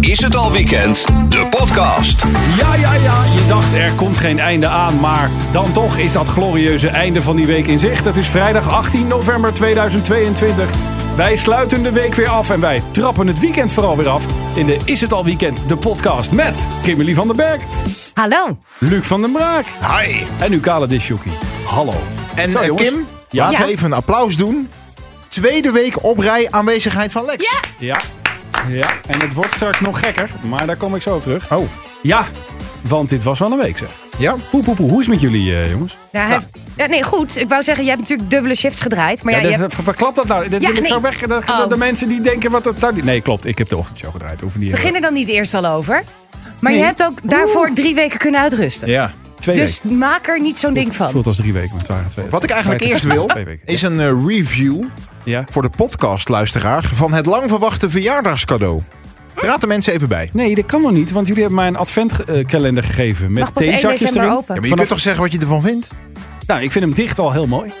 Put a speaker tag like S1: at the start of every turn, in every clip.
S1: is het al weekend, de podcast.
S2: Ja, ja, ja. Je dacht er komt geen einde aan. Maar dan toch is dat glorieuze einde van die week in zicht. Het is vrijdag 18 november 2022. Wij sluiten de week weer af en wij trappen het weekend vooral weer af. In de Is het al weekend, de podcast met Kimberly van der Berg,
S3: Hallo.
S2: Luc van den Braak
S1: Hi.
S2: en Ukale Dishoekie. Hallo.
S4: En
S2: Zo,
S4: eh,
S2: jongens.
S4: Kim,
S2: Ja.
S4: laten we
S3: Ja.
S4: even een applaus doen. Tweede week op rij aanwezigheid van Lex.
S3: Ja.
S2: Ja. Ja, en het wordt straks nog gekker, maar daar kom ik zo op terug.
S4: Oh,
S2: Ja, want dit was wel een week zeg.
S4: ja?
S2: Poe, poe, poe. Hoe is het met jullie eh, jongens?
S3: Ja, hij- ja, nee, goed. Ik wou zeggen, je hebt natuurlijk dubbele shifts gedraaid. Maar ja,
S2: Ja,
S3: je
S2: dat-
S3: hebt
S2: dat- Waar klapt dat nou? Dat
S3: Ja,
S2: wil ik
S3: nee.
S2: zo weg. Dat,
S3: Oh.
S2: De mensen die denken wat dat zou... die- Nee, klopt. Ik heb de ochtendshow gedraaid. Hoeven niet
S3: beginnen dan niet eerst al over. Maar
S2: Nee.
S3: je hebt ook daarvoor drie weken kunnen uitrusten.
S4: Ja.
S2: twee
S3: Dus
S2: weken.
S3: maak er niet zo'n ding
S2: Het
S3: van.
S2: voelt als drie weken, maar het waren twee.
S4: Wat ik eigenlijk
S2: Twee-
S4: eerst wil,
S2: Twee weken.
S4: is een eh, review
S2: Ja.
S4: voor de podcastluisteraar van het lang verwachte verjaardagscadeau. Raad de mensen even bij.
S2: Nee, dat kan nog niet, want jullie hebben mij een adventkalender gegeven. Met
S3: Mag pas 1
S2: theezakjes
S3: december
S2: erin.
S3: open.
S4: Ja, maar je
S2: Vanaf-
S4: kunt toch zeggen wat je ervan vindt?
S2: Nou, ik vind hem dicht al heel mooi.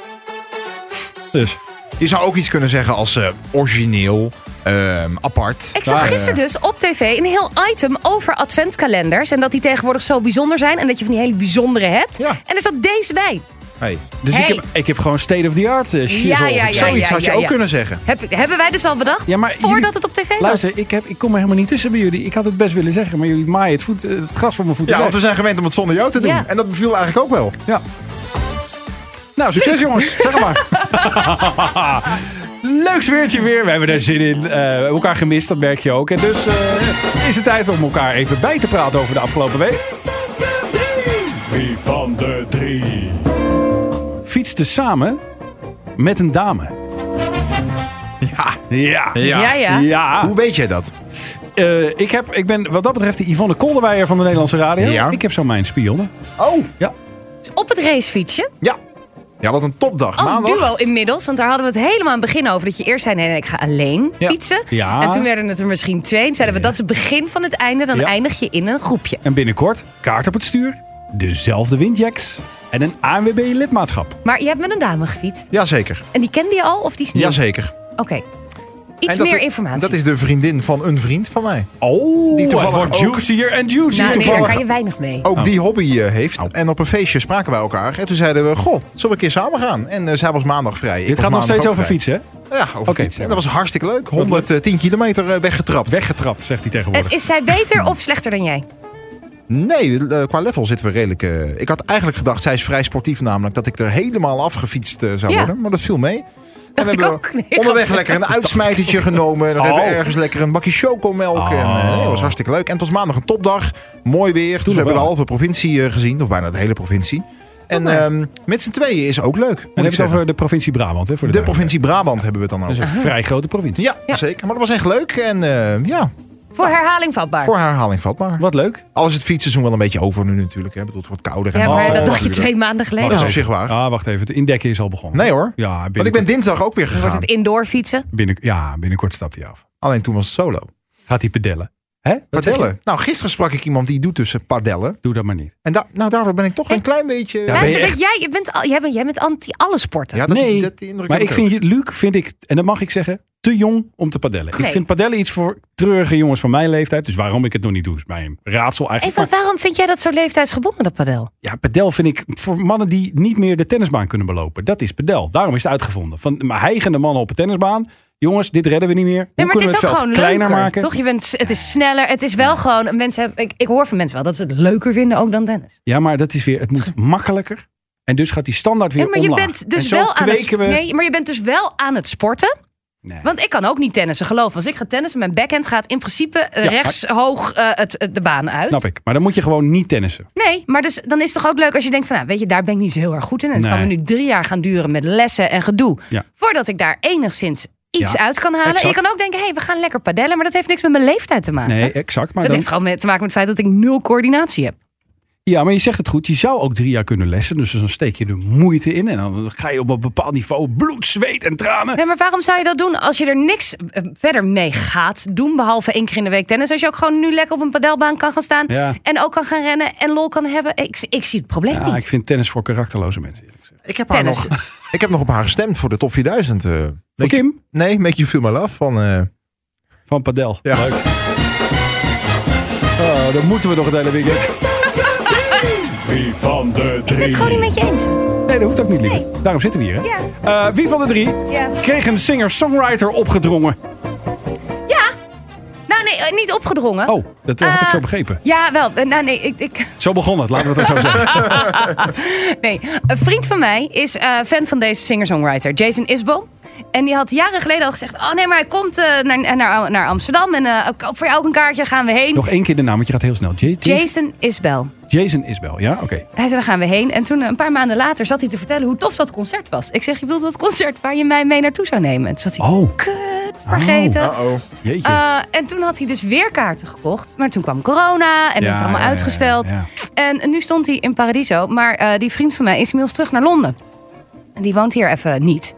S2: Dus,
S4: Je zou ook iets kunnen zeggen als eh, origineel, ehm, apart.
S3: Ik zag
S2: Waar,
S3: gisteren
S4: eh,
S3: dus op tv een heel item over adventkalenders. En dat die tegenwoordig zo bijzonder zijn. En dat je van die hele bijzondere hebt.
S4: Ja.
S3: En er zat deze bij.
S4: Hey.
S2: dus
S3: Hey.
S2: ik, heb, ik heb gewoon state of the art eh, shit.
S3: Ja,
S2: op.
S3: ja, ja.
S4: Zoiets had je ook
S3: ja.
S4: kunnen zeggen.
S3: Heb, hebben wij dus al bedacht?
S2: Ja, maar
S3: voordat
S2: jullie-
S3: het op tv was.
S2: Luister, ik, heb, ik kom er helemaal niet tussen bij jullie. Ik had het best willen zeggen, maar jullie maaien het, voet, eh, het gras voor mijn voeten
S4: Ja,
S2: weg.
S4: want we zijn gewend om het zonder jou te doen.
S3: Ja.
S4: En dat beviel eigenlijk ook wel.
S2: Ja. Nou, succes jongens. Zeg het maar. Leuk sfeertje weer. We hebben er zin in. Eh, elkaar gemist, dat merk je ook. En dus eh, is het tijd om elkaar even bij te praten over de afgelopen week. Wie van de drie? Fietste samen met een dame.
S4: Ja.
S2: Ja.
S3: Ja, ja.
S2: Ja.
S4: Hoe weet jij dat?
S2: Eh, ik, heb, ik ben wat dat betreft de Yvonne Kolderweijer van de Nederlandse radio.
S4: Ja.
S2: Ik heb zo mijn spionnen.
S4: Oh,
S3: Dus op het racefietsje.
S4: ja. Ja, wat een topdag.
S3: Als
S4: Maandag.
S3: Oh, duo inmiddels, want daar hadden we het helemaal aan het begin over. Dat je eerst zei, nee, nee ik ga alleen
S4: Ja.
S3: fietsen.
S2: Ja.
S3: En toen werden het er misschien twee. En zeiden we, dat is het begin van het einde. Dan
S2: Ja.
S3: eindig je in een groepje.
S2: En binnenkort kaart op het stuur, dezelfde windjacks en een ANWB-lidmaatschap.
S3: Maar je hebt met een dame gefietst.
S4: Jazeker.
S3: En die kende je al of die is nieuw?
S4: Jazeker.
S3: Oké. Iets
S4: En dat
S3: meer
S4: is-
S3: informatie.
S4: Dat is de vriendin van een vriend van mij.
S2: Oh,
S4: Die
S2: het
S4: toevallig
S2: wordt
S4: ook-
S2: juicier en juicier.
S3: nou, nee, daar
S4: toevallig-
S3: kan je weinig mee.
S2: Oh.
S4: Ook die hobby eh, heeft. En op een feestje spraken wij elkaar. En toen zeiden we, goh, zullen we een keer samen gaan? En eh, zij was maandag vrij. Ik
S2: Dit
S4: was
S2: gaat nog
S4: maandag
S2: steeds
S4: ook
S2: over
S4: vrij.
S2: fietsen, hè?
S4: Ja, over
S2: Oké,
S4: fietsen.
S2: zeg
S4: En
S2: maar.
S4: dat was hartstikke leuk. 110 kilometer eh, weggetrapt.
S2: Weggetrapt, zegt hij
S3: En
S4: Eh,
S2: tegenwoordig.
S3: is zij beter of slechter dan jij?
S4: Nee, eh, qua level zitten we redelijk... eh, ik had eigenlijk gedacht, zij is vrij sportief namelijk... dat ik er helemaal afgefietst eh, zou
S3: Ja.
S4: worden. Maar dat viel mee. En we
S3: ik
S4: hebben
S3: ook. Nee,
S4: onderweg
S3: grapje.
S4: lekker een uitsmijtertje genomen. Nog
S2: Oh.
S4: even ergens lekker een bakje chocomelk. En, eh, nee, dat was hartstikke leuk. En het was maandag een topdag. Mooi weer. dus we hebben
S2: wel.
S4: de halve provincie eh, gezien. Of bijna de hele provincie. En ehm, met z'n tweeën is ook leuk.
S2: Dan
S4: Moet
S2: Oh, heb
S4: ik
S2: je het
S4: zeggen.
S2: over de provincie Brabant, hè? Voor de
S4: De
S2: duidelijkheid.
S4: provincie Brabant hebben we het dan
S2: Dat
S4: over.
S2: is een vrij grote provincie.
S4: Ja,
S3: Ja.
S4: zeker. Maar dat was echt leuk. En eh, ja,
S3: Voor herhaling vatbaar.
S4: voor herhaling vatbaar.
S2: Wat leuk.
S4: Al is het fietsseizoen wel een beetje over nu natuurlijk. Hè. Ik bedoel, het wordt kouder en
S3: Ja, maar
S2: Oh,
S4: natter
S3: dat dacht je
S4: natuurlijk.
S3: twee maanden geleden.
S4: Maar dat is
S3: al.
S4: op zich waar.
S2: Ah, wacht even. Het indekken is al begonnen.
S4: Nee hoor.
S2: Ja, binnenkort,
S4: Want ik ben dinsdag ook weer
S3: Wordt
S4: gegaan.
S3: het indoor fietsen?
S2: binnen, ja, binnenkort stapt hij af.
S4: Alleen toen was het solo.
S2: Gaat hij pedellen. Hè? Wat zeg je?
S4: Padellen. Nou, gisteren sprak ik iemand die doet tussen padellen.
S2: Doe dat maar niet.
S4: En da nou, daardoor ben ik toch een klein beetje...
S2: ben je
S3: Luister, dat
S2: echt-
S3: jij, je bent, al- jij, bent, jij bent anti alle sporten.
S4: Ja, dat,
S2: Nee,
S4: dat, die indruk
S2: Maar
S4: heb
S2: ik vind, Luc vind ik, en dat mag ik zeggen, te jong om te padellen. Ik
S3: Nee.
S2: vind padellen iets voor treurige jongens van mijn leeftijd. Dus waarom ik het nog niet doe, is mij een raadsel eigenlijk.
S3: Even, waarom vind jij dat zo leeftijdsgebonden, dat padel?
S2: Ja, padel vind ik voor mannen die niet meer de tennisbaan kunnen belopen. Dat is padel. Daarom is het uitgevonden. Van maar hijgende mannen op de tennisbaan. Jongens, dit redden we niet meer. Hoe
S3: Nee, maar het
S2: kunnen
S3: is ook
S2: we het veld
S3: gewoon
S2: kleiner
S3: leuker.
S2: maken?
S3: Toch? Je bent, het is sneller. Het is wel gewoon. Mensen hebben, ik, ik hoor van mensen wel dat ze het leuker vinden ook dan tennis.
S2: Ja, maar dat is weer. Het moet makkelijker. En dus gaat die standaard weer
S3: Ja, maar je
S2: omlaag.
S3: bent dus
S2: En zo
S3: wel aan het,
S2: kweken we-
S3: nee, maar je bent dus wel aan het sporten.
S2: Nee.
S3: Want ik kan ook niet tennissen, geloof me. Als ik ga tennissen, mijn backhand gaat in principe eh,
S2: Ja,
S3: rechts hoog eh, het, het- de baan uit.
S2: Snap ik. Maar dan moet je gewoon niet tennissen.
S3: Nee, maar dus, dan is het toch ook leuk als je denkt van... Nou, weet je, daar ben ik niet zo heel erg goed in. En het
S2: Nee.
S3: kan me nu drie jaar gaan duren met lessen en gedoe.
S2: Ja.
S3: Voordat ik daar enigszins iets
S2: Ja,
S3: uit kan halen. En
S2: exact.
S3: je kan ook denken, hé, hey, we gaan lekker padellen. Maar dat heeft niks met mijn leeftijd te maken.
S2: Nee, exact. Maar
S3: dat
S2: dan,
S3: heeft gewoon met- te maken met het feit dat ik nul coördinatie heb.
S2: ja, maar je zegt het goed. Je zou ook drie jaar kunnen lessen. Dus dan steek je de moeite in. En dan ga je op een bepaald niveau bloed, zweet en tranen.
S3: Nee, maar waarom zou je dat doen als je er niks eh, verder mee gaat doen, behalve één keer in de week tennis? Als je ook gewoon nu lekker op een padelbaan kan gaan staan
S2: Ja.
S3: en ook kan gaan rennen en lol kan hebben. Ik, ik zie het probleem
S2: Ja, ik
S3: niet.
S2: vind tennis voor karakterloze mensen. eerlijk gezegd.
S4: Ik heb, haar nog,
S3: Tennis.
S4: ik heb nog op haar gestemd voor de top 4000. eh. Make
S2: Voor
S4: You-
S2: Kim
S4: nee, Make You Feel My Love van... eh,
S2: van Padel.
S4: Ja.
S2: Leuk. Oh, dan moeten we nog het hele weekend. Wie van de drie?
S3: het gewoon niet met je eens.
S2: Nee, dat hoeft ook niet, lief.
S3: Nee.
S2: Daarom zitten we hier, hè? Eh, wie van de drie
S3: Ja.
S2: kreeg een singer-songwriter opgedrongen?
S3: Ja. Nou nee, eh, niet opgedrongen.
S2: Oh, dat eh, had ik
S3: Eh,
S2: zo begrepen.
S3: Ja, wel. Eh, Nou nee, ik, ik,
S2: Zo begon het, laten we het dan zo zeggen.
S3: nee, een vriend van mij is eh, fan van deze singer-songwriter, Jason Isbell. En die had jaren geleden al gezegd: Oh nee, maar hij komt eh, naar, naar, naar Amsterdam. En eh, ik koop voor jou ook een kaartje, gaan we heen.
S2: Nog één keer de naam, want je gaat heel snel. J- Jason,
S3: Jason Isbell.
S2: Jason Isbel, ja? Oké.
S3: Hij zei, dan gaan we heen. En toen, eh, een paar maanden later, zat hij te vertellen hoe tof dat concert was. Ik zeg, je bedoelt dat concert waar je mij mee naartoe zou nemen? Toen zat hij,
S2: Oh.
S3: kut, vergeten.
S4: Uh-oh.
S2: Jeetje.
S3: Eh, en toen had hij dus weer kaarten gekocht. Maar toen kwam corona en
S2: Ja,
S3: dat is allemaal
S2: ja, ja,
S3: uitgesteld.
S2: ja.
S3: En nu stond hij in Paradiso. Maar eh, die vriend van mij is inmiddels terug naar Londen. En die woont hier even niet.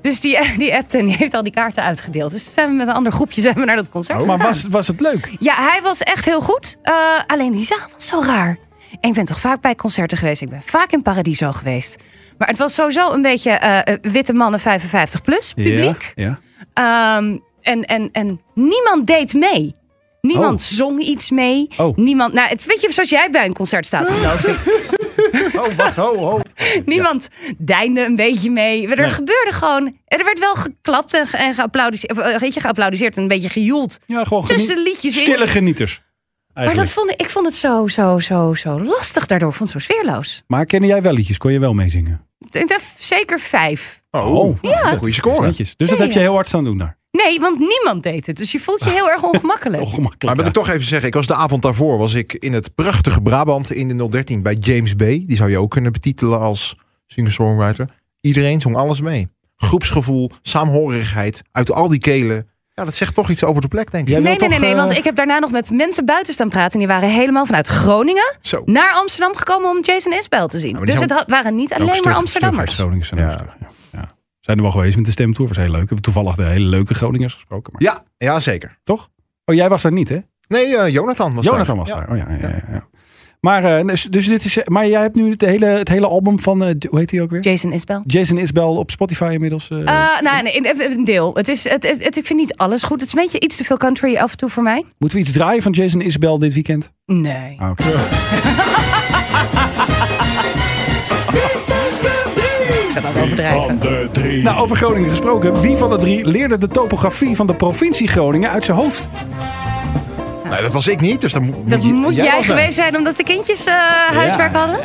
S3: Dus die, die appte en die heeft al die kaarten uitgedeeld. Dus toen zijn we met een ander groepje zijn we naar dat concert
S4: Oh.
S2: Oh. maar
S3: gegaan.
S2: was, was het leuk?
S3: Ja, hij was echt heel goed. Eh, alleen die zaal was zo raar. En ik ben toch vaak bij concerten geweest. Ik ben vaak in Paradiso geweest. Maar het was sowieso een beetje eh, witte mannen 55 plus publiek.
S2: Ja. ja.
S3: Ehm, en, en, en niemand deed mee. Niemand zong iets mee.
S2: Oh.
S3: Niemand, nou, het weet je zoals jij bij een concert staat, geloof Nou, ik.
S2: Oh, wacht, ho, ho.
S3: Niemand deinde een beetje mee. Er
S2: Nee.
S3: gebeurde gewoon. Er werd wel geklapt en, ge- en geapplaudisseerd, of, eh, weet je, geapplaudiseerd en een beetje gejoeld.
S2: Ja, gewoon geniet-
S3: Tussen de liedjes in.
S2: Stille genieters.
S3: Maar dat
S2: Eigenlijk.
S3: vond ik, ik vond het zo, zo, zo, zo lastig daardoor. Ik vond het zo sfeerloos.
S2: Maar kende jij wel liedjes? Kon je wel meezingen?
S3: Ik denk Zeker vijf.
S4: Oh, ja. goede score.
S2: Netjes. Dus dat heb je heel hard staan doen daar.
S3: Nee, want niemand deed het. Dus je voelt je heel erg ongemakkelijk.
S4: Maar
S2: Ongemakkelijk.
S4: wil
S2: ja.
S4: ik toch even zeggen, ik was de avond daarvoor was ik in het prachtige Brabant in de 013 bij James Bay. Die zou je ook kunnen betitelen als singer-songwriter. Iedereen zong alles mee. Groepsgevoel, saamhorigheid, uit al die kelen. Ja, dat zegt toch iets over de plek, denk ik.
S2: Jij wil
S3: Nee, nee, nee,
S2: toch,
S3: nee,
S2: eh,
S3: want ik heb daarna nog met mensen buiten staan praten. En die waren helemaal vanuit Groningen
S4: Zo.
S3: naar Amsterdam gekomen om Jason Isbell te zien.
S4: maar die
S3: dus
S4: zijn-
S3: het had- waren niet
S2: Ook
S3: alleen maar
S2: stug-
S3: Amsterdammers.
S2: stug uit Groningen zijn ook
S4: Ja.
S2: stug, ja. Ja. Zijn er wel geweest met de stemtour. Was heel leuk. We hebben toevallig de hele leuke Groningers gesproken. Maar
S4: Ja, ja, zeker.
S2: toch? Oh, jij was daar niet, hè?
S4: Nee, eh, Jonathan was
S2: Jonathan
S4: daar.
S2: was
S4: Ja.
S2: daar. Oh, ja, ja, ja, ja. Maar, eh, dus, dus dit is, eh, maar jij hebt nu het hele, het hele album van, eh, hoe heet hij ook weer?
S3: Jason Isbell.
S2: Jason Isbell op Spotify inmiddels. eh.
S3: Eh nou, nee, even een deel. Het is, het, het, het- ik vind niet alles goed. Het is een beetje iets te veel country af en toe voor mij.
S2: Moeten we iets draaien van Jason Isbell dit weekend?
S3: Nee.
S2: Ah, oké.
S3: Ik ga het overdrijven.
S2: Nou, over Groningen gesproken. Wie van de drie leerde de topografie van de provincie Groningen uit zijn hoofd?
S4: Nee, dat was ik niet, dus dan moet,
S3: Dat
S4: je-
S3: moet jij,
S4: wel zijn.
S3: geweest zijn omdat de kindjes eh, huiswerk
S2: Ja.
S3: hadden?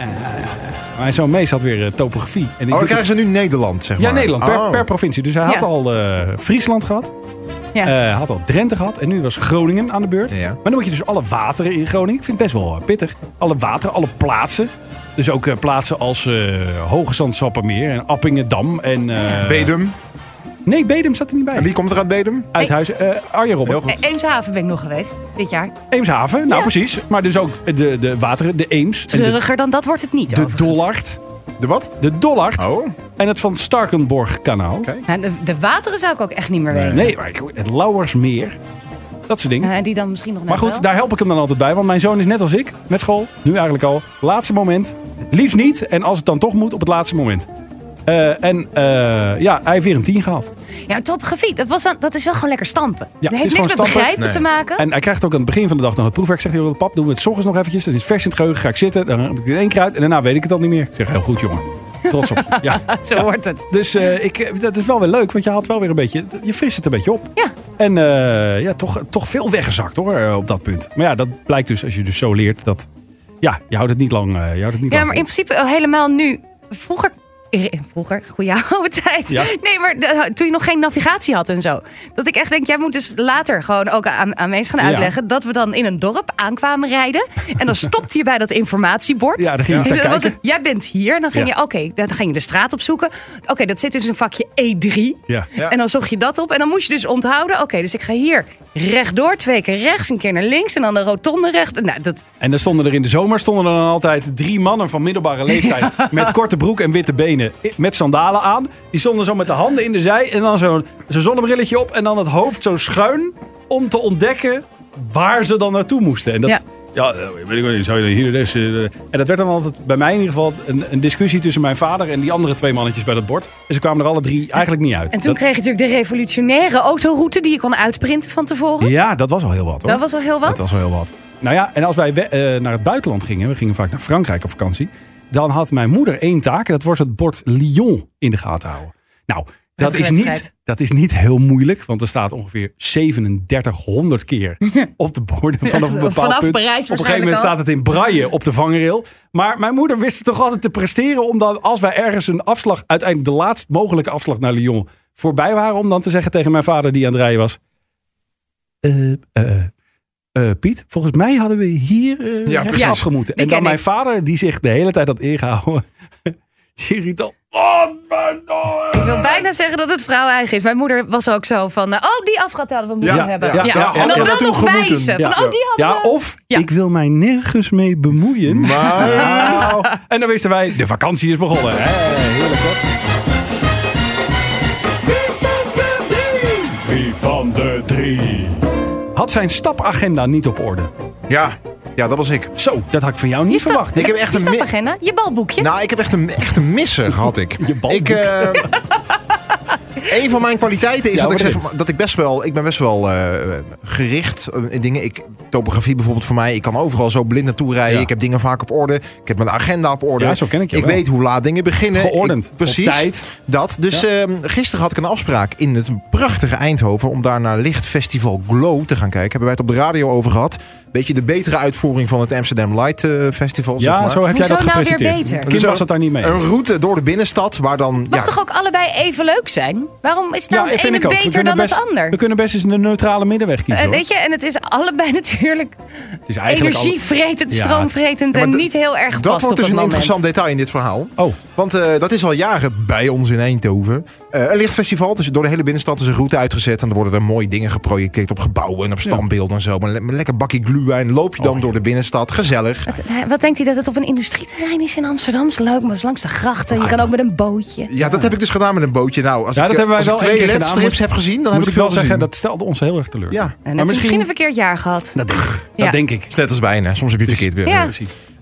S2: Mijn zoon Mees had weer eh, topografie. En ik doe
S4: Oh, dan krijgen ze nu Nederland, zeg maar.
S2: Ja, Nederland, per,
S4: Oh.
S2: per provincie. Dus hij had
S3: Ja.
S2: al eh, Friesland gehad,
S3: Ja.
S2: eh, had al Drenthe gehad en nu was Groningen aan de beurt.
S4: Ja.
S2: Maar dan moet je dus alle wateren in Groningen, ik vind het best wel eh, pittig, alle wateren, alle plaatsen. Dus ook eh, plaatsen als eh Hoge Zandsappermeer en Appingedam en... eh,
S4: Bedum.
S2: Nee, Bedum zat er niet bij.
S4: En wie komt er uit Bedum?
S2: Uithuizen, eh Arjen Robben.
S4: Heel goed.
S3: Eh, Eemshaven ben ik nog geweest dit jaar.
S2: Eemshaven, nou precies. Maar dus ook de, de wateren, de Eems. en de,
S3: Treuriger dan dat wordt het niet.
S2: de
S3: overigens.
S2: Dollard.
S3: eh.
S4: De wat?
S2: De Dollard.
S4: Oh,
S2: En het van Starkenborg-kanaal.
S3: Nou, de, de wateren zou ik ook echt niet meer weten.
S2: Nee, maar ik- het Lauwersmeer. Dat soort dingen.
S3: Eh, die dan misschien nog
S2: Maar
S3: net
S2: goed,
S3: wel.
S2: daar help ik hem dan altijd bij. Want mijn zoon is net als ik, met school, nu eigenlijk al. Laatste moment. Liefst niet. En als het dan toch moet, op het laatste moment. Eh, en eh, ja, hij heeft weer een 10 gehaald.
S3: Ja, topografie, dat, was dan, dat is wel gewoon lekker stampen.
S2: het
S3: dat heeft
S2: is
S3: niks met
S2: gewoon stampen.
S3: begrijpen te maken.
S2: En hij krijgt ook aan het begin van de dag dan het proefwerk. Zegt hij, "Oh, pap, doen we het 's ochtends nog eventjes. Dan is het vers in het geheugen, ga ik zitten. Dan heb ik er één kruid en daarna weet ik het al niet meer. Ik zeg, heel goed jongen. Trots op je. Ja.
S3: Zo wordt het.
S2: Dus eh, ik, eh, dat is wel weer leuk, want je haalt wel weer een beetje... Je frist het een beetje op.
S3: Ja.
S2: En eh, ja, toch, toch veel weggezakt hoor, eh, op dat punt. Maar ja, dat blijkt dus, als je dus zo leert, dat... Ja, je houdt het niet lang, eh, je houdt het niet
S3: Ja,
S2: lang
S3: maar
S2: vol.
S3: in principe eh, helemaal nu. Vroeger, eh, vroeger, goede oude tijd.
S2: Ja.
S3: Nee, maar de- eh, toen je nog geen navigatie had en zo. Dat ik echt denk, jij moet dus later gewoon ook aan, aan mensen gaan
S2: Ja.
S3: uitleggen... dat we dan in een dorp aankwamen rijden. En dan stopte je bij dat informatiebord.
S2: Ja, dan ging je staan
S3: En dan was
S2: kijken.
S3: het, jij bent hier. En dan ging
S2: Ja.
S3: je, oké, dan ging je de straat opzoeken. Oké, dat zit dus in vakje E3.
S2: Ja.
S4: Ja.
S3: En dan zocht je dat op. En dan moest je dus onthouden. Oké, dus ik ga hier rechtdoor, twee keer rechts, een keer naar links... en dan de rotonde recht. Nou, dat...
S2: En dan stonden er in de zomer stonden er dan altijd drie mannen van middelbare leeftijd. Met korte broek en witte benen. i- Met sandalen aan. Die stonden zo met de handen in de zij. En dan zo'n zo'n zonnebrilletje op. En dan het hoofd zo schuin. Om te ontdekken waar ze dan naartoe moesten. En dat, ja.
S3: Ja.
S2: eh, weet ik wel niet. Zou je hier dus, eh, En dat werd dan altijd bij mij in ieder geval een, een discussie tussen mijn vader en die andere twee mannetjes bij dat bord. En ze kwamen er alle drie eigenlijk niet uit.
S3: En toen
S2: Dat-
S3: kreeg je natuurlijk de revolutionaire autoroute die je kon uitprinten van tevoren.
S2: ja, dat was al heel wat hoor.
S3: Dat was al heel wat.
S2: Dat was wel heel wat. Nou ja, en als wij we- eh, naar het buitenland gingen, we gingen vaak naar Frankrijk op vakantie, dan had mijn moeder één taak en dat was het bord Lyon in de gaten houden. Nou, dat is, niet,
S3: wedstrijd.
S2: dat is niet heel moeilijk, want er staat ongeveer 3700 keer op de borden vanaf een bepaald
S3: Vanaf
S2: punt.
S3: Parijs
S2: op een gegeven
S3: waarschijnlijk
S2: moment
S3: al.
S2: staat het in braille op de vangrail. Maar mijn moeder wist het toch altijd te presteren om dan, als wij ergens een afslag, uiteindelijk de laatst mogelijke afslag naar Lyon voorbij waren, om dan te zeggen tegen mijn vader die aan het rijden was, eh, eh, eh, eh, Piet, volgens mij hadden we hier eh
S4: Ja,
S2: rechts
S4: precies.
S2: afgemoeten.
S3: Die
S2: En dan
S3: ken
S2: mijn
S3: ik.
S2: vader, die zich de hele tijd had ingehouden. Die riep al, oh, mijn
S3: Ik wil bijna zeggen dat het vrouw eigen is. Mijn moeder was ook zo van, eh, oh, die afgat hadden we moeten
S4: Ja,
S3: hebben.
S4: ja,
S3: Ja,
S4: ja, ja,
S3: en
S4: hadden
S3: dan
S4: we
S3: wel
S4: toen
S3: nog
S4: gemoeten.
S3: wijzen.
S2: Ja.
S3: Van, oh, die hadden
S2: Ja,
S3: we.
S2: of
S3: Ja.
S2: ik wil mij nergens mee bemoeien.
S4: Maar
S2: Nou, en dan wisten wij, de vakantie is begonnen. Hey, heerlijk hoor. Wie van de drie? Had zijn stapagenda niet op orde.
S4: ja, ja, dat was ik.
S2: Zo, dat had ik van jou niet
S3: stap-
S2: verwacht.
S4: Ik heb echt
S3: je
S4: een mi-
S3: stapagenda, je balboekje.
S4: Nou, ik heb echt een, echt een misser, had ik.
S2: Je balboek.
S4: ik eh, een van mijn kwaliteiten is
S2: Ja,
S4: dat, ik
S2: wat is
S4: zeg, maar- dat ik best wel, ik ben best wel eh, gericht eh, in dingen. Ik, topografie bijvoorbeeld voor mij, ik kan overal zo blind naartoe rijden.
S2: Ja.
S4: Ik heb dingen vaak op orde. Ik heb mijn agenda op orde.
S2: Ja, zo ken ik je
S4: Ik
S2: wel.
S4: weet hoe laat dingen beginnen.
S2: Geordend.
S4: Ik-
S2: Op
S4: precies.
S2: tijd.
S4: Dat. Dus ehm, gisteren had ik een afspraak in het prachtige Eindhoven om daar naar Lichtfestival Glow te gaan kijken. Hebben wij het op de radio over gehad. Beetje de betere uitvoering van het Amsterdam Light eh, Festival. zeg
S2: Ja,
S4: maar.
S2: zo heb jij
S3: Hoezo
S2: dat
S3: nou weer
S2: gepresenteerd.
S3: beter? Nou,
S2: Kim was het daar niet mee.
S4: Een route door de binnenstad waar dan.
S3: Mag
S4: ja,
S3: toch ook allebei even leuk zijn? Waarom is nou de
S2: vind
S3: ene
S2: ik ook. We
S3: beter
S2: kunnen
S3: dan
S2: best,
S3: het ander?
S2: We kunnen best eens een neutrale middenweg kiezen.
S3: Eh,
S2: hoor.
S3: weet je, en het is allebei natuurlijk
S2: Het is eigenlijk al-
S3: energievretend,
S2: Ja.
S3: stroomvretend
S4: Ja,
S3: en
S4: maar d-
S3: niet heel erg gepast
S4: dat wordt dus
S3: op
S4: een
S3: het moment.
S4: interessant detail in dit verhaal.
S2: Oh,
S4: Want eh, dat is al jaren bij ons in Eindhoven. Eh, een lichtfestival, dus door de hele binnenstad is een route uitgezet. En dan worden er mooie dingen geprojecteerd op gebouwen en op standbeelden en zo. Maar le- met een lekker bakje gluwijn loop je dan
S2: Oh,
S4: door de binnenstad. Gezellig.
S3: Eh, Wat denkt hij dat het op een industrieterrein is in Amsterdam? Is leuk, maar is langs de grachten. Je kan ook met een bootje.
S4: Ah, Ja, dat heb ik dus gedaan met een bootje. Nou, als
S2: Ja, dat
S4: ik, eh,
S2: hebben wij
S4: als ik
S2: wel één
S4: twee
S2: keer gedaan.
S4: ledstrips
S2: Moet-
S4: heb gezien, dan heb
S2: moet
S4: ik
S2: ik
S4: veel
S2: wel zeggen,
S4: gezien.
S2: dat stelde ons heel erg teleur.
S4: Ja,
S3: En
S2: Maar
S3: maar misschien...
S2: misschien-
S3: een verkeerd jaar gehad.
S4: Nou,
S2: Dat, denk,
S3: Ja.
S2: dat denk ik.
S4: is net als bijna. Soms heb je het verkeerd weer.
S3: Ja.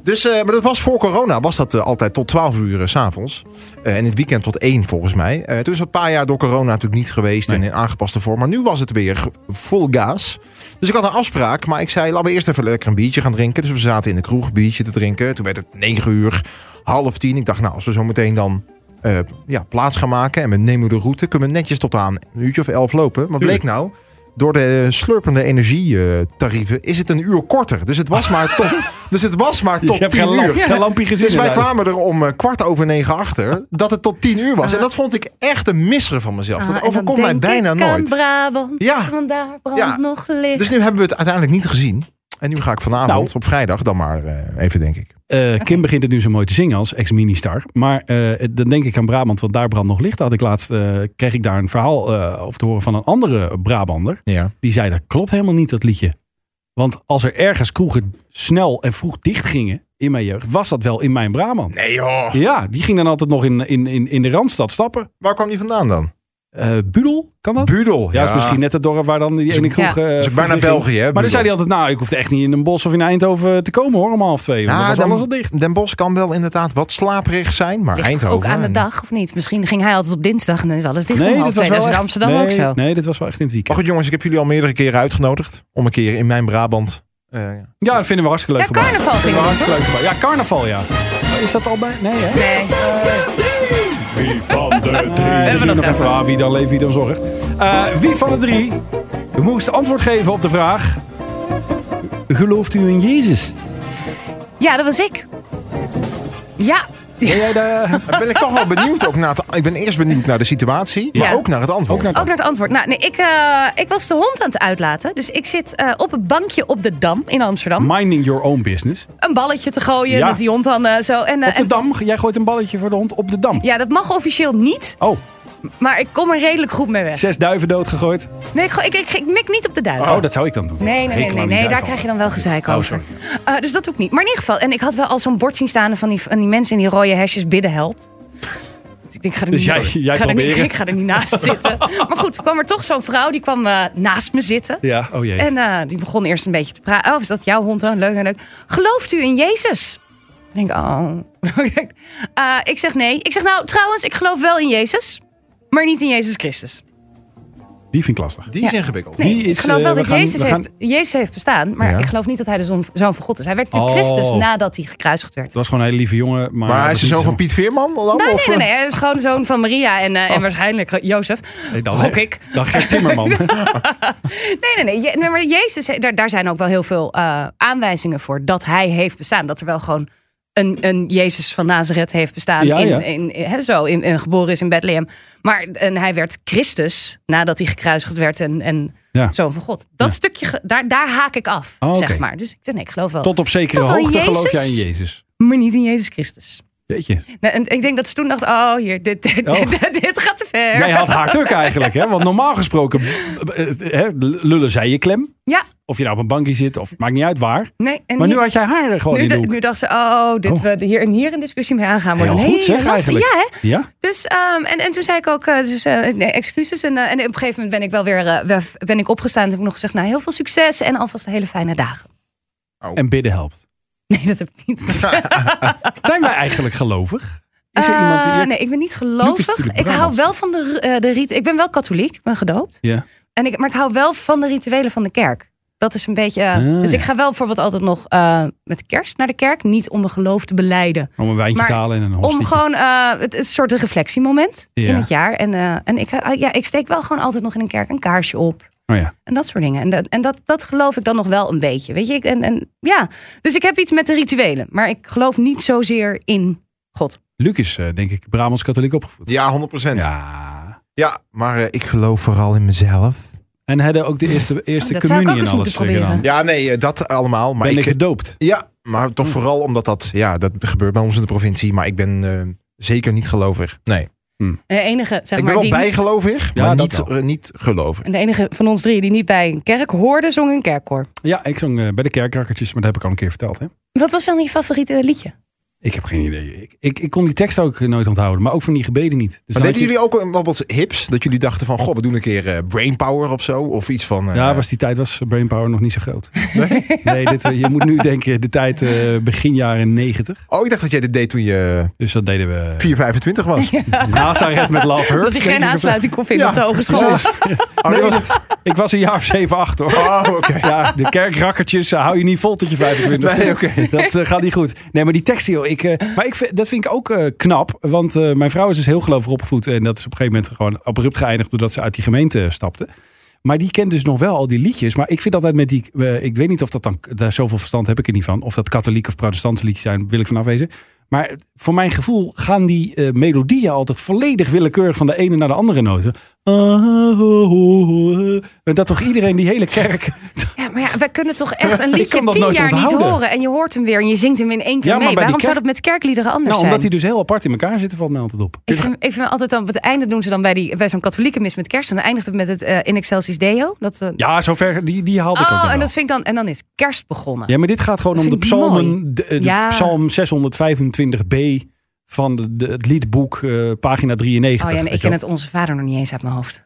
S4: Dus, eh, maar dat was voor corona, was dat eh, altijd tot 12 uur eh, s s'avonds. Eh, en in het weekend tot 1 volgens mij. Eh toen is een paar jaar door corona natuurlijk niet geweest en in aangepaste vorm. Maar nu was het weer ge- vol gas. Dus ik had een afspraak, maar ik zei, laten we eerst even lekker een biertje gaan drinken. Dus we zaten in de kroeg biertje te drinken. Toen werd het 9 uur, half 10. Ik dacht, nou, als we zo meteen dan eh, ja, plaats gaan maken en we nemen de route, kunnen we netjes tot aan een uurtje of 11 lopen. Maar bleek nou, door de slurpende energietarieven eh, is het een uur korter. Dus het was maar tot, dus het was maar
S2: Dus
S4: tot
S2: je hebt
S4: 10
S2: geen,
S4: uur.
S2: lamp, geen lampje gezien.
S4: Dus wij
S2: inderdaad.
S4: kwamen er om eh, kwart over negen achter dat het tot tien uur was. En dat vond ik echt een misser van mezelf.
S3: Ah, en
S4: Dat
S3: dan
S4: overkomt mij
S3: denk
S4: bijna
S3: ik aan
S4: nooit.
S3: Brabant,
S4: Ja.
S3: want daar brandt
S4: Ja.
S3: nog licht.
S4: Dus nu hebben we het uiteindelijk niet gezien. En nu ga ik vanavond
S2: Nou.
S4: op vrijdag dan maar eh, even, denk ik.
S2: Eh, Kim begint het nu zo mooi te zingen als ex-ministar. Maar eh, dan denk ik aan Brabant, want daar brandt nog licht. Had ik laatst, eh, kreeg ik daar een verhaal eh over te horen van een andere Brabander.
S4: Ja.
S2: Die zei, dat klopt helemaal niet, dat liedje. Want als er ergens kroegen snel en vroeg dicht gingen in mijn jeugd, was dat wel in mijn Brabant.
S4: Nee joh.
S2: Ja, die ging dan altijd nog in, in, in, in de Randstad stappen.
S4: Waar kwam die vandaan dan?
S2: Eh Budel, kan dat?
S4: Budel.
S2: Ja, is misschien net het dorp waar dan die ene
S4: Is-
S2: kroeg...
S3: Ja.
S2: eh,
S4: is ook
S2: vroeg
S4: bijna
S2: dicht ging.
S4: België, hè,
S2: Maar dan
S4: Budel.
S2: zei hij altijd, nou, ik hoefde echt niet in Den Bosch of in Eindhoven te komen hoor, om half twee. Want dan
S4: Ah,
S2: was
S4: Den,
S2: alles al dicht.
S4: Den Bosch kan wel inderdaad wat slaperig zijn, maar
S3: Ligt toch
S4: Eindhoven...
S3: ook aan de
S4: en-
S3: dag, of niet? Misschien ging hij altijd op dinsdag en dan is alles dicht om half twee. Dat is in
S2: echt-
S3: Amsterdam
S2: nee,
S3: ook zo.
S2: Nee, dit was wel echt in het
S4: Maar
S2: weekend.
S4: goed jongens, ik heb jullie al meerdere keren uitgenodigd om een keer in mijn Brabant... eh,
S2: Ja, dat vinden we hartstikke
S3: Ja,
S2: leuk. gebaar.
S3: carnaval
S2: Vinden
S3: ging
S2: we
S3: het,
S2: hartstikke leuk. gebaar. Ja, carnaval, ja. Oh, Is dat al bij? Nee, hè?
S3: Nee.
S2: Hebben we nog even aan wie dan leeft, wie dan zorgt. Eh, wie van de drie moest antwoord geven op de vraag... Gelooft u in Jezus?
S3: Ja, dat was ik. Ja,
S2: Ben jij daar...
S4: Dan ben ik toch wel benieuwd ook naar het, Ik ben eerst benieuwd naar de situatie, maar
S3: Ja.
S4: ook naar het antwoord.
S2: Ook naar-
S3: ook naar het antwoord. Nou, nee, ik, eh, ik was de hond aan het uitlaten. Dus ik zit eh, op een bankje op de Dam in Amsterdam.
S2: Minding your own business.
S3: een balletje te gooien
S2: Ja.
S3: met die hond dan eh, zo. En, eh,
S2: Op de
S3: en-
S2: dam. Jij gooit een balletje voor de hond op de dam.
S3: ja, dat mag officieel niet,
S2: Oh,
S3: maar ik kom er redelijk goed mee weg.
S2: zes duiven doodgegooid.
S3: Nee, ik, go- ik, ik, ik mik niet op de duif.
S2: Oh, dat zou ik dan doen.
S3: Nee, nee, nee,
S2: Hekel aan
S3: nee,
S2: die
S3: nee, daar
S2: duiven.
S3: krijg je dan wel gezeik
S2: Oh,
S3: over.
S2: sorry.
S3: Eh, dus dat doe ik niet. Maar in ieder geval, en ik had wel al zo'n bord zien staan van die, van die mensen in die rode hesjes bidden helpt. Dus ik denk, ik ga er
S2: Dus
S3: niet,
S2: jij- jij
S3: ik ga er niet,
S2: proberen.
S3: ik ga er niet naast zitten. Maar goed, kwam er toch zo'n vrouw, die kwam eh, naast me zitten.
S2: Ja, oh jee.
S3: En eh, die begon eerst een beetje te praten. Oh, is dat jouw hond? Oh, leuk en leuk. Gelooft u in Jezus? Ik denk, oh. Eh, ik zeg nee. Ik zeg nou, trouwens, ik geloof wel in Jezus, maar niet in Jezus Christus.
S2: Die vind ik lastig.
S4: Die
S3: Ja.
S4: is ingewikkeld.
S3: Nee,
S2: Die
S3: ik
S2: is,
S3: geloof
S2: eh,
S3: wel
S2: we
S3: dat
S2: gaan-
S3: Jezus,
S2: we
S3: heeft, Jezus heeft bestaan, maar
S4: Ja.
S3: ik geloof niet dat hij de zoon, zoon van God is. Hij werd natuurlijk
S2: Oh.
S3: Christus nadat hij gekruisigd werd.
S2: Het was gewoon een hele lieve jongen. Maar,
S4: Maar hij is
S2: was
S4: de
S2: niet
S4: zoon
S2: zo-
S4: van Piet Veerman dan?
S2: Oh,
S3: Nee,
S4: of, eh?
S3: nee, nee,
S2: eh.
S3: nee, hij is gewoon de zoon van Maria en, eh, en waarschijnlijk Jozef.
S2: Nee, dan,
S3: Gok ik.
S2: Dan Gert Timmerman.
S3: Nee, nee, nee. Je- nee, maar Jezus, daar, daar zijn ook wel heel veel eh, aanwijzingen voor dat hij heeft bestaan. Dat er wel gewoon een, een Jezus van Nazareth heeft bestaan.
S2: Ja,
S3: in,
S2: ja.
S3: In, in- hè, zo, in, in- geboren is in Bethlehem. Maar en hij werd Christus nadat hij gekruisigd werd en, en
S2: Ja.
S3: zoon van God. Dat
S2: Ja.
S3: stukje, ge- daar, daar haak ik af,
S2: Oh, oké.
S3: zeg maar. Dus ik, nee, ik geloof wel.
S2: Tot op zekere
S3: Toch wel
S2: hoogte geloof
S3: Jezus?
S2: jij in Jezus.
S3: Maar niet in Jezus Christus.
S2: Weet je.
S3: Nou, en ik denk dat ze toen dacht, oh hier, dit, dit,
S2: Oh.
S3: dit, dit gaat te ver.
S2: Jij had haar tuk eigenlijk. Hè? Want normaal gesproken eh, hè, lullen zij je klem.
S3: Ja,
S2: Of je nou op een bankje zit. Of maakt niet uit waar.
S3: nee. En
S2: Maar nu
S3: hier-
S2: had jij haar er gewoon
S3: nu,
S2: in de
S3: da-
S2: hoek.
S3: nu dacht ze, oh, dit
S2: Oh.
S3: we hier en hier een discussie mee aangaan. Wordt
S2: Heel
S3: een
S2: goed
S3: hele
S2: zeg
S3: lastige-
S2: eigenlijk.
S3: Ja, hè?
S2: Ja?
S3: Dus, ehm, en, en toen zei ik ook eh, dus, eh, nee, excuses. En, eh, en op een gegeven moment ben ik wel weer eh, weer- ben ik opgestaan. En heb ik nog gezegd, nou, heel veel succes en alvast hele fijne dagen.
S2: En bidden helpt.
S3: Nee, dat heb ik niet.
S2: Zijn wij eigenlijk gelovig? Is er
S3: Eh,
S2: iemand die... hier-
S3: nee, ik ben niet
S2: Luc is
S3: gelovig.
S2: natuurlijk
S3: Ik hou
S2: Brabants.
S3: wel van de, ru- eh, de riet. Ik ben wel katholiek, ik ben gedoopt.
S2: Ja.
S3: En ik, maar ik hou wel van de rituelen van de kerk. Dat is een beetje. eh,
S2: Ah,
S3: dus
S2: ja.
S3: ik ga wel bijvoorbeeld altijd nog eh, met kerst naar de kerk. Niet om mijn geloof te beleiden.
S2: Om een wijntje
S3: Maar
S2: te halen en een
S3: Om
S2: hostietje.
S3: gewoon eh, het is een soort reflectiemoment
S2: Ja.
S3: in het jaar. En, eh, en ik, eh, ja, ik steek wel gewoon altijd nog in een kerk een kaarsje op.
S2: Oh ja.
S3: En dat soort dingen. En, dat, en dat, dat geloof ik dan nog wel een beetje. Weet je, Ik- en, en ja. Dus ik heb iets met de rituelen. Maar ik geloof niet zozeer in God.
S2: Luc is eh, denk ik Brabants katholiek opgevoed.
S4: Ja, 100%. Ja,
S2: Ja.
S4: maar eh, ik geloof vooral in mezelf.
S2: En hadden ook de eerste, eerste
S3: dat zou ik
S2: communie
S3: ook
S2: en
S3: eens
S2: alles
S3: moeten proberen.
S2: gedaan.
S4: Ja, nee, eh, dat allemaal. Maar
S2: Ben ik
S4: ik,
S2: gedoopt?
S4: ja, maar toch vooral omdat dat, ja, dat gebeurt bij ons in de provincie. Maar ik ben eh, zeker niet gelovig. Nee,
S3: De enige, zeg
S4: ik ben
S3: maar,
S4: wel
S3: die,
S4: bijgelovig,
S2: Ja,
S4: maar
S2: dat
S4: niet,
S2: wel.
S4: eh, niet gelovig.
S3: En de enige van ons drie die niet bij een kerk hoorde, zong een kerkkoor.
S2: Ja, ik zong eh, bij de kerkkakkertjes, maar dat heb ik al een keer verteld. Hè?
S3: Wat was dan je favoriete liedje?
S2: Ik heb geen idee. Ik, ik, ik kon die tekst ook nooit onthouden, maar ook van die gebeden niet. Dus
S4: Maar
S2: dan had
S4: deden
S2: je-
S4: jullie ook eh, wat hips? Dat jullie dachten van, goh, we doen een keer eh, brainpower of zo? Of iets van... eh,
S2: Ja, was die tijd was Brainpower nog niet zo groot. Nee, dit, eh, je moet nu denken, de tijd eh, begin jaren 90.
S4: Oh, ik dacht dat jij dit deed toen je
S2: Dus dat deden we.
S4: 4,25 was. Ja,
S2: Nazareth met Love Hurts.
S3: Dat ik geen
S2: denk ik.
S3: aansluiting kon vinden
S4: Ja,
S3: op de hogeschool.
S4: Oh, dat was het.
S2: Ik was een jaar of 7, 8 hoor.
S4: Oh, oké.
S2: Ja, de kerkrakkertjes eh, hou je niet vol tot je 25
S4: Nee, oké.
S2: Dat eh, gaat niet goed. Nee, maar die tekst, joh. Ik, eh, maar ik, vind- dat vind ik ook eh, knap. Want eh, mijn vrouw is dus heel gelovig opgevoed. En dat is op een gegeven moment gewoon abrupt geëindigd. doordat ze uit die gemeente stapte. Maar die kent dus nog wel al die liedjes. Maar ik vind altijd met die. eh, ik weet niet of dat dan. Daar zoveel verstand heb ik er niet van. Of dat katholiek of protestantse liedjes zijn, wil ik van afwezen. Maar voor mijn gevoel gaan die eh, melodieën altijd volledig willekeurig van de ene naar de andere noten. Ah, eh. Dat toch iedereen die hele kerk
S3: Ja, maar ja, wij kunnen toch echt een
S2: Ik kan
S3: liedje
S2: dat
S3: tien
S2: nooit
S3: jaar niet
S2: onthouden.
S3: horen. En je hoort hem weer en je zingt hem in één keer
S2: Ja, maar
S3: mee.
S2: bij die
S3: Waarom zou
S2: kerk-
S3: dat met kerkliederen anders
S2: Nou,
S3: zijn?
S2: omdat die dus heel apart in elkaar zitten, valt mij altijd op.
S3: Ik vind, ik vind altijd dan, op het einde doen ze dan bij, die- bij zo'n katholieke mis met kerst. En dan eindigt het met het eh, In Excelsis Deo. Dat, eh,
S2: Ja, zover, die, die haalde ik ook nog
S3: oh,
S2: wel.
S3: en, dat vind ik dan, en dan is kerst begonnen. Oh
S2: Ja, maar dit gaat gewoon om
S3: vind
S2: de
S3: ik mooi.
S2: psalmen, de, de
S3: Ja.
S2: psalm 625b van de, de- het liedboek, eh, pagina 93.
S3: oh ja, en
S2: weet
S3: ik
S2: je
S3: ken
S2: wel.
S3: het Onze Vader nog niet eens uit mijn hoofd.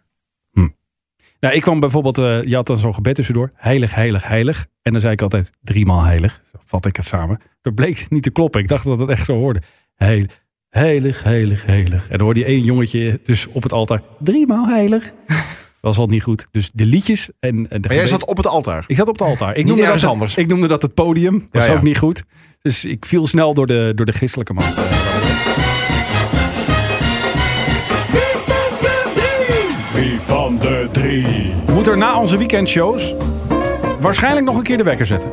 S2: Nou, ik kwam bijvoorbeeld, eh, je had dan zo'n gebed tussendoor, heilig, heilig, heilig. En dan zei ik altijd, driemaal heilig, zo vat ik het samen. Dat bleek niet te kloppen, ik dacht dat het echt zo hoorde. Heil, heilig, heilig, heilig. En dan hoorde je één jongetje dus op het altaar, driemaal heilig. Was al niet goed. Dus de liedjes en eh, de
S4: Maar jij
S2: gebeden-
S4: zat op het altaar.
S2: Ik zat op het altaar. Ik
S4: Niet
S2: noemde, dat
S4: ergens
S2: het,
S4: anders.
S2: ik noemde dat het podium. Was
S4: Ja, ja.
S2: ook niet goed. Dus ik viel snel door de, door de christelijke man. Wie van de drie? Moet er na onze weekendshows waarschijnlijk nog een keer de wekker zetten.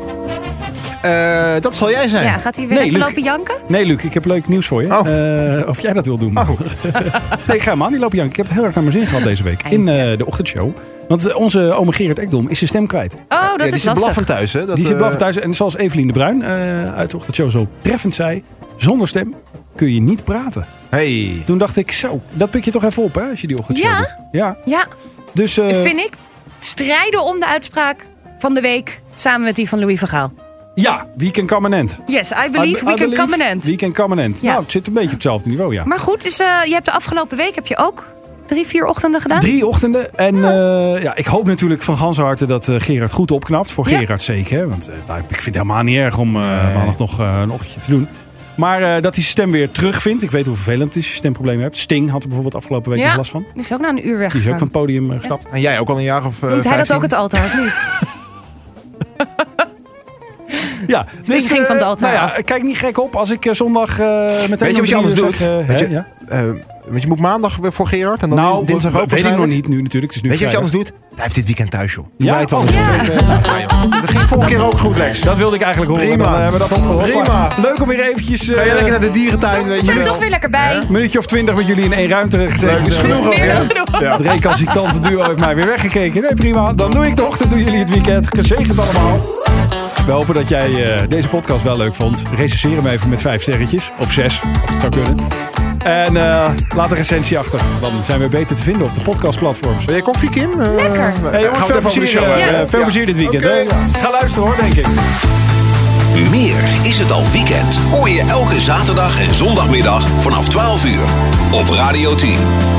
S4: Eh, dat zal jij zijn.
S3: Ja, gaat hij weer
S2: Nee,
S3: even
S2: Luc.
S3: lopen janken? Oh,
S2: Nee, Luc, ik heb leuk nieuws voor je.
S4: Oh.
S2: Eh, of jij dat wil doen. nee, ik ga hem aan. Die lopen janken. Ik heb het heel erg naar mijn zin gehad deze week. In eh, de ochtendshow. Want eh, onze oma Gerard Ekdom is zijn stem kwijt.
S3: Oh, dat
S4: Ja, die
S3: is
S4: zit
S3: lastig.
S4: blaffend thuis, hè? Dat,
S2: die zit
S4: eh,
S2: blaf thuis. En zoals Evelien de Bruin eh uit de ochtendshow zo treffend zei... zonder stem kun je niet praten.
S4: Hey.
S2: Toen dacht ik, zo, dat pik je toch even op, hè? Als je die ochtendshow
S3: Ja.
S2: doet. Ja.
S3: Ja,
S2: Dus eh,
S3: vind ik. Strijden om de uitspraak van de week. Samen met die van Louis van Gaal.
S2: ja, we can come an end.
S3: Yes, I
S2: I- I
S3: believe we can come an end.
S2: We can come an end.
S3: Ja.
S2: Nou, het zit een beetje op hetzelfde niveau, ja.
S3: Maar goed, dus, eh, je hebt de afgelopen week heb je ook drie, vier ochtenden gedaan.
S2: Drie ochtenden. En eh, ja, ik hoop natuurlijk van ganse harte dat eh, Gerard goed opknapt. Voor
S3: Ja.
S2: Gerard zeker. hè, Want eh, nou, ik vind het helemaal niet erg om eh, maandag nog eh, een ochtendje te doen. Maar eh, dat hij zijn stem weer terugvindt. Ik weet hoe vervelend het is als je stemproblemen hebt. Sting had er bijvoorbeeld afgelopen week
S3: Ja.
S2: nog last van.
S3: Die is ook na een uur weg.
S2: Die is ook van het podium eh, gestapt.
S4: En jij ook al een jaar of eh,
S3: Noemt hij dat
S4: 15?
S3: ook het altaar of niet?
S2: Ja,
S3: ging
S2: eh,
S3: van het altaar
S2: nou ja,
S3: af.
S2: kijk niet gek op als ik eh, zondag eh meteen...
S4: Weet je wat je anders doet? Weet je-
S2: ja?
S4: Eh, want je moet maandag weer voor Gerard en dan
S2: Nou,
S4: dinsdag ook
S2: weet ik nog
S4: waarschijnlijk.
S2: niet nu natuurlijk. Het is nu
S4: Weet je wat je
S2: vrijdag.
S4: anders doet? Hij heeft dit weekend thuis, joh. Doe
S2: Ja?
S4: mij het dan.
S2: Oh,
S3: Ja.
S4: Dat ging vorige keer ook goed, Lex.
S2: Dat wilde ik eigenlijk horen.
S4: Prima.
S2: Dan eh, hebben we dat opgehoord.
S4: Prima.
S2: Maar Leuk om weer eventjes... eh,
S4: Ga je lekker naar de dierentuin, weet
S3: We
S4: je
S3: zijn er
S4: wel.
S3: toch weer lekker bij.
S2: een minuutje of twintig met jullie in één ruimte gezeten.
S4: Leuk, is genoeg ook,
S3: Meer
S4: hè?
S3: dan genoeg.
S4: Ja.
S2: Het recalcitrante duo heeft mij weer weggekeken. Nee, prima. Dan doe ik de ochtend, doen jullie het weekend. Gezegend allemaal. We hopen dat jij eh, deze podcast wel leuk vond. Recenseer hem even met vijf sterretjes. Of zes, als het zou kunnen. En eh, laat een recensie achter. Dan zijn we beter te vinden op de podcastplatforms.
S4: Wil jij koffie, Kim? Eh,
S3: Lekker.
S2: Hey, jongens,
S4: gaan we
S2: veel
S4: het even over de
S2: plezier,
S4: show
S2: eh,
S4: hebben.
S2: eh, veel
S4: Ja.
S2: plezier dit weekend.
S4: Oké.
S2: hè? Ga luisteren hoor, denk ik.
S1: Meer is het al weekend. Hoor je elke zaterdag en zondagmiddag vanaf 12 uur op Radio 10.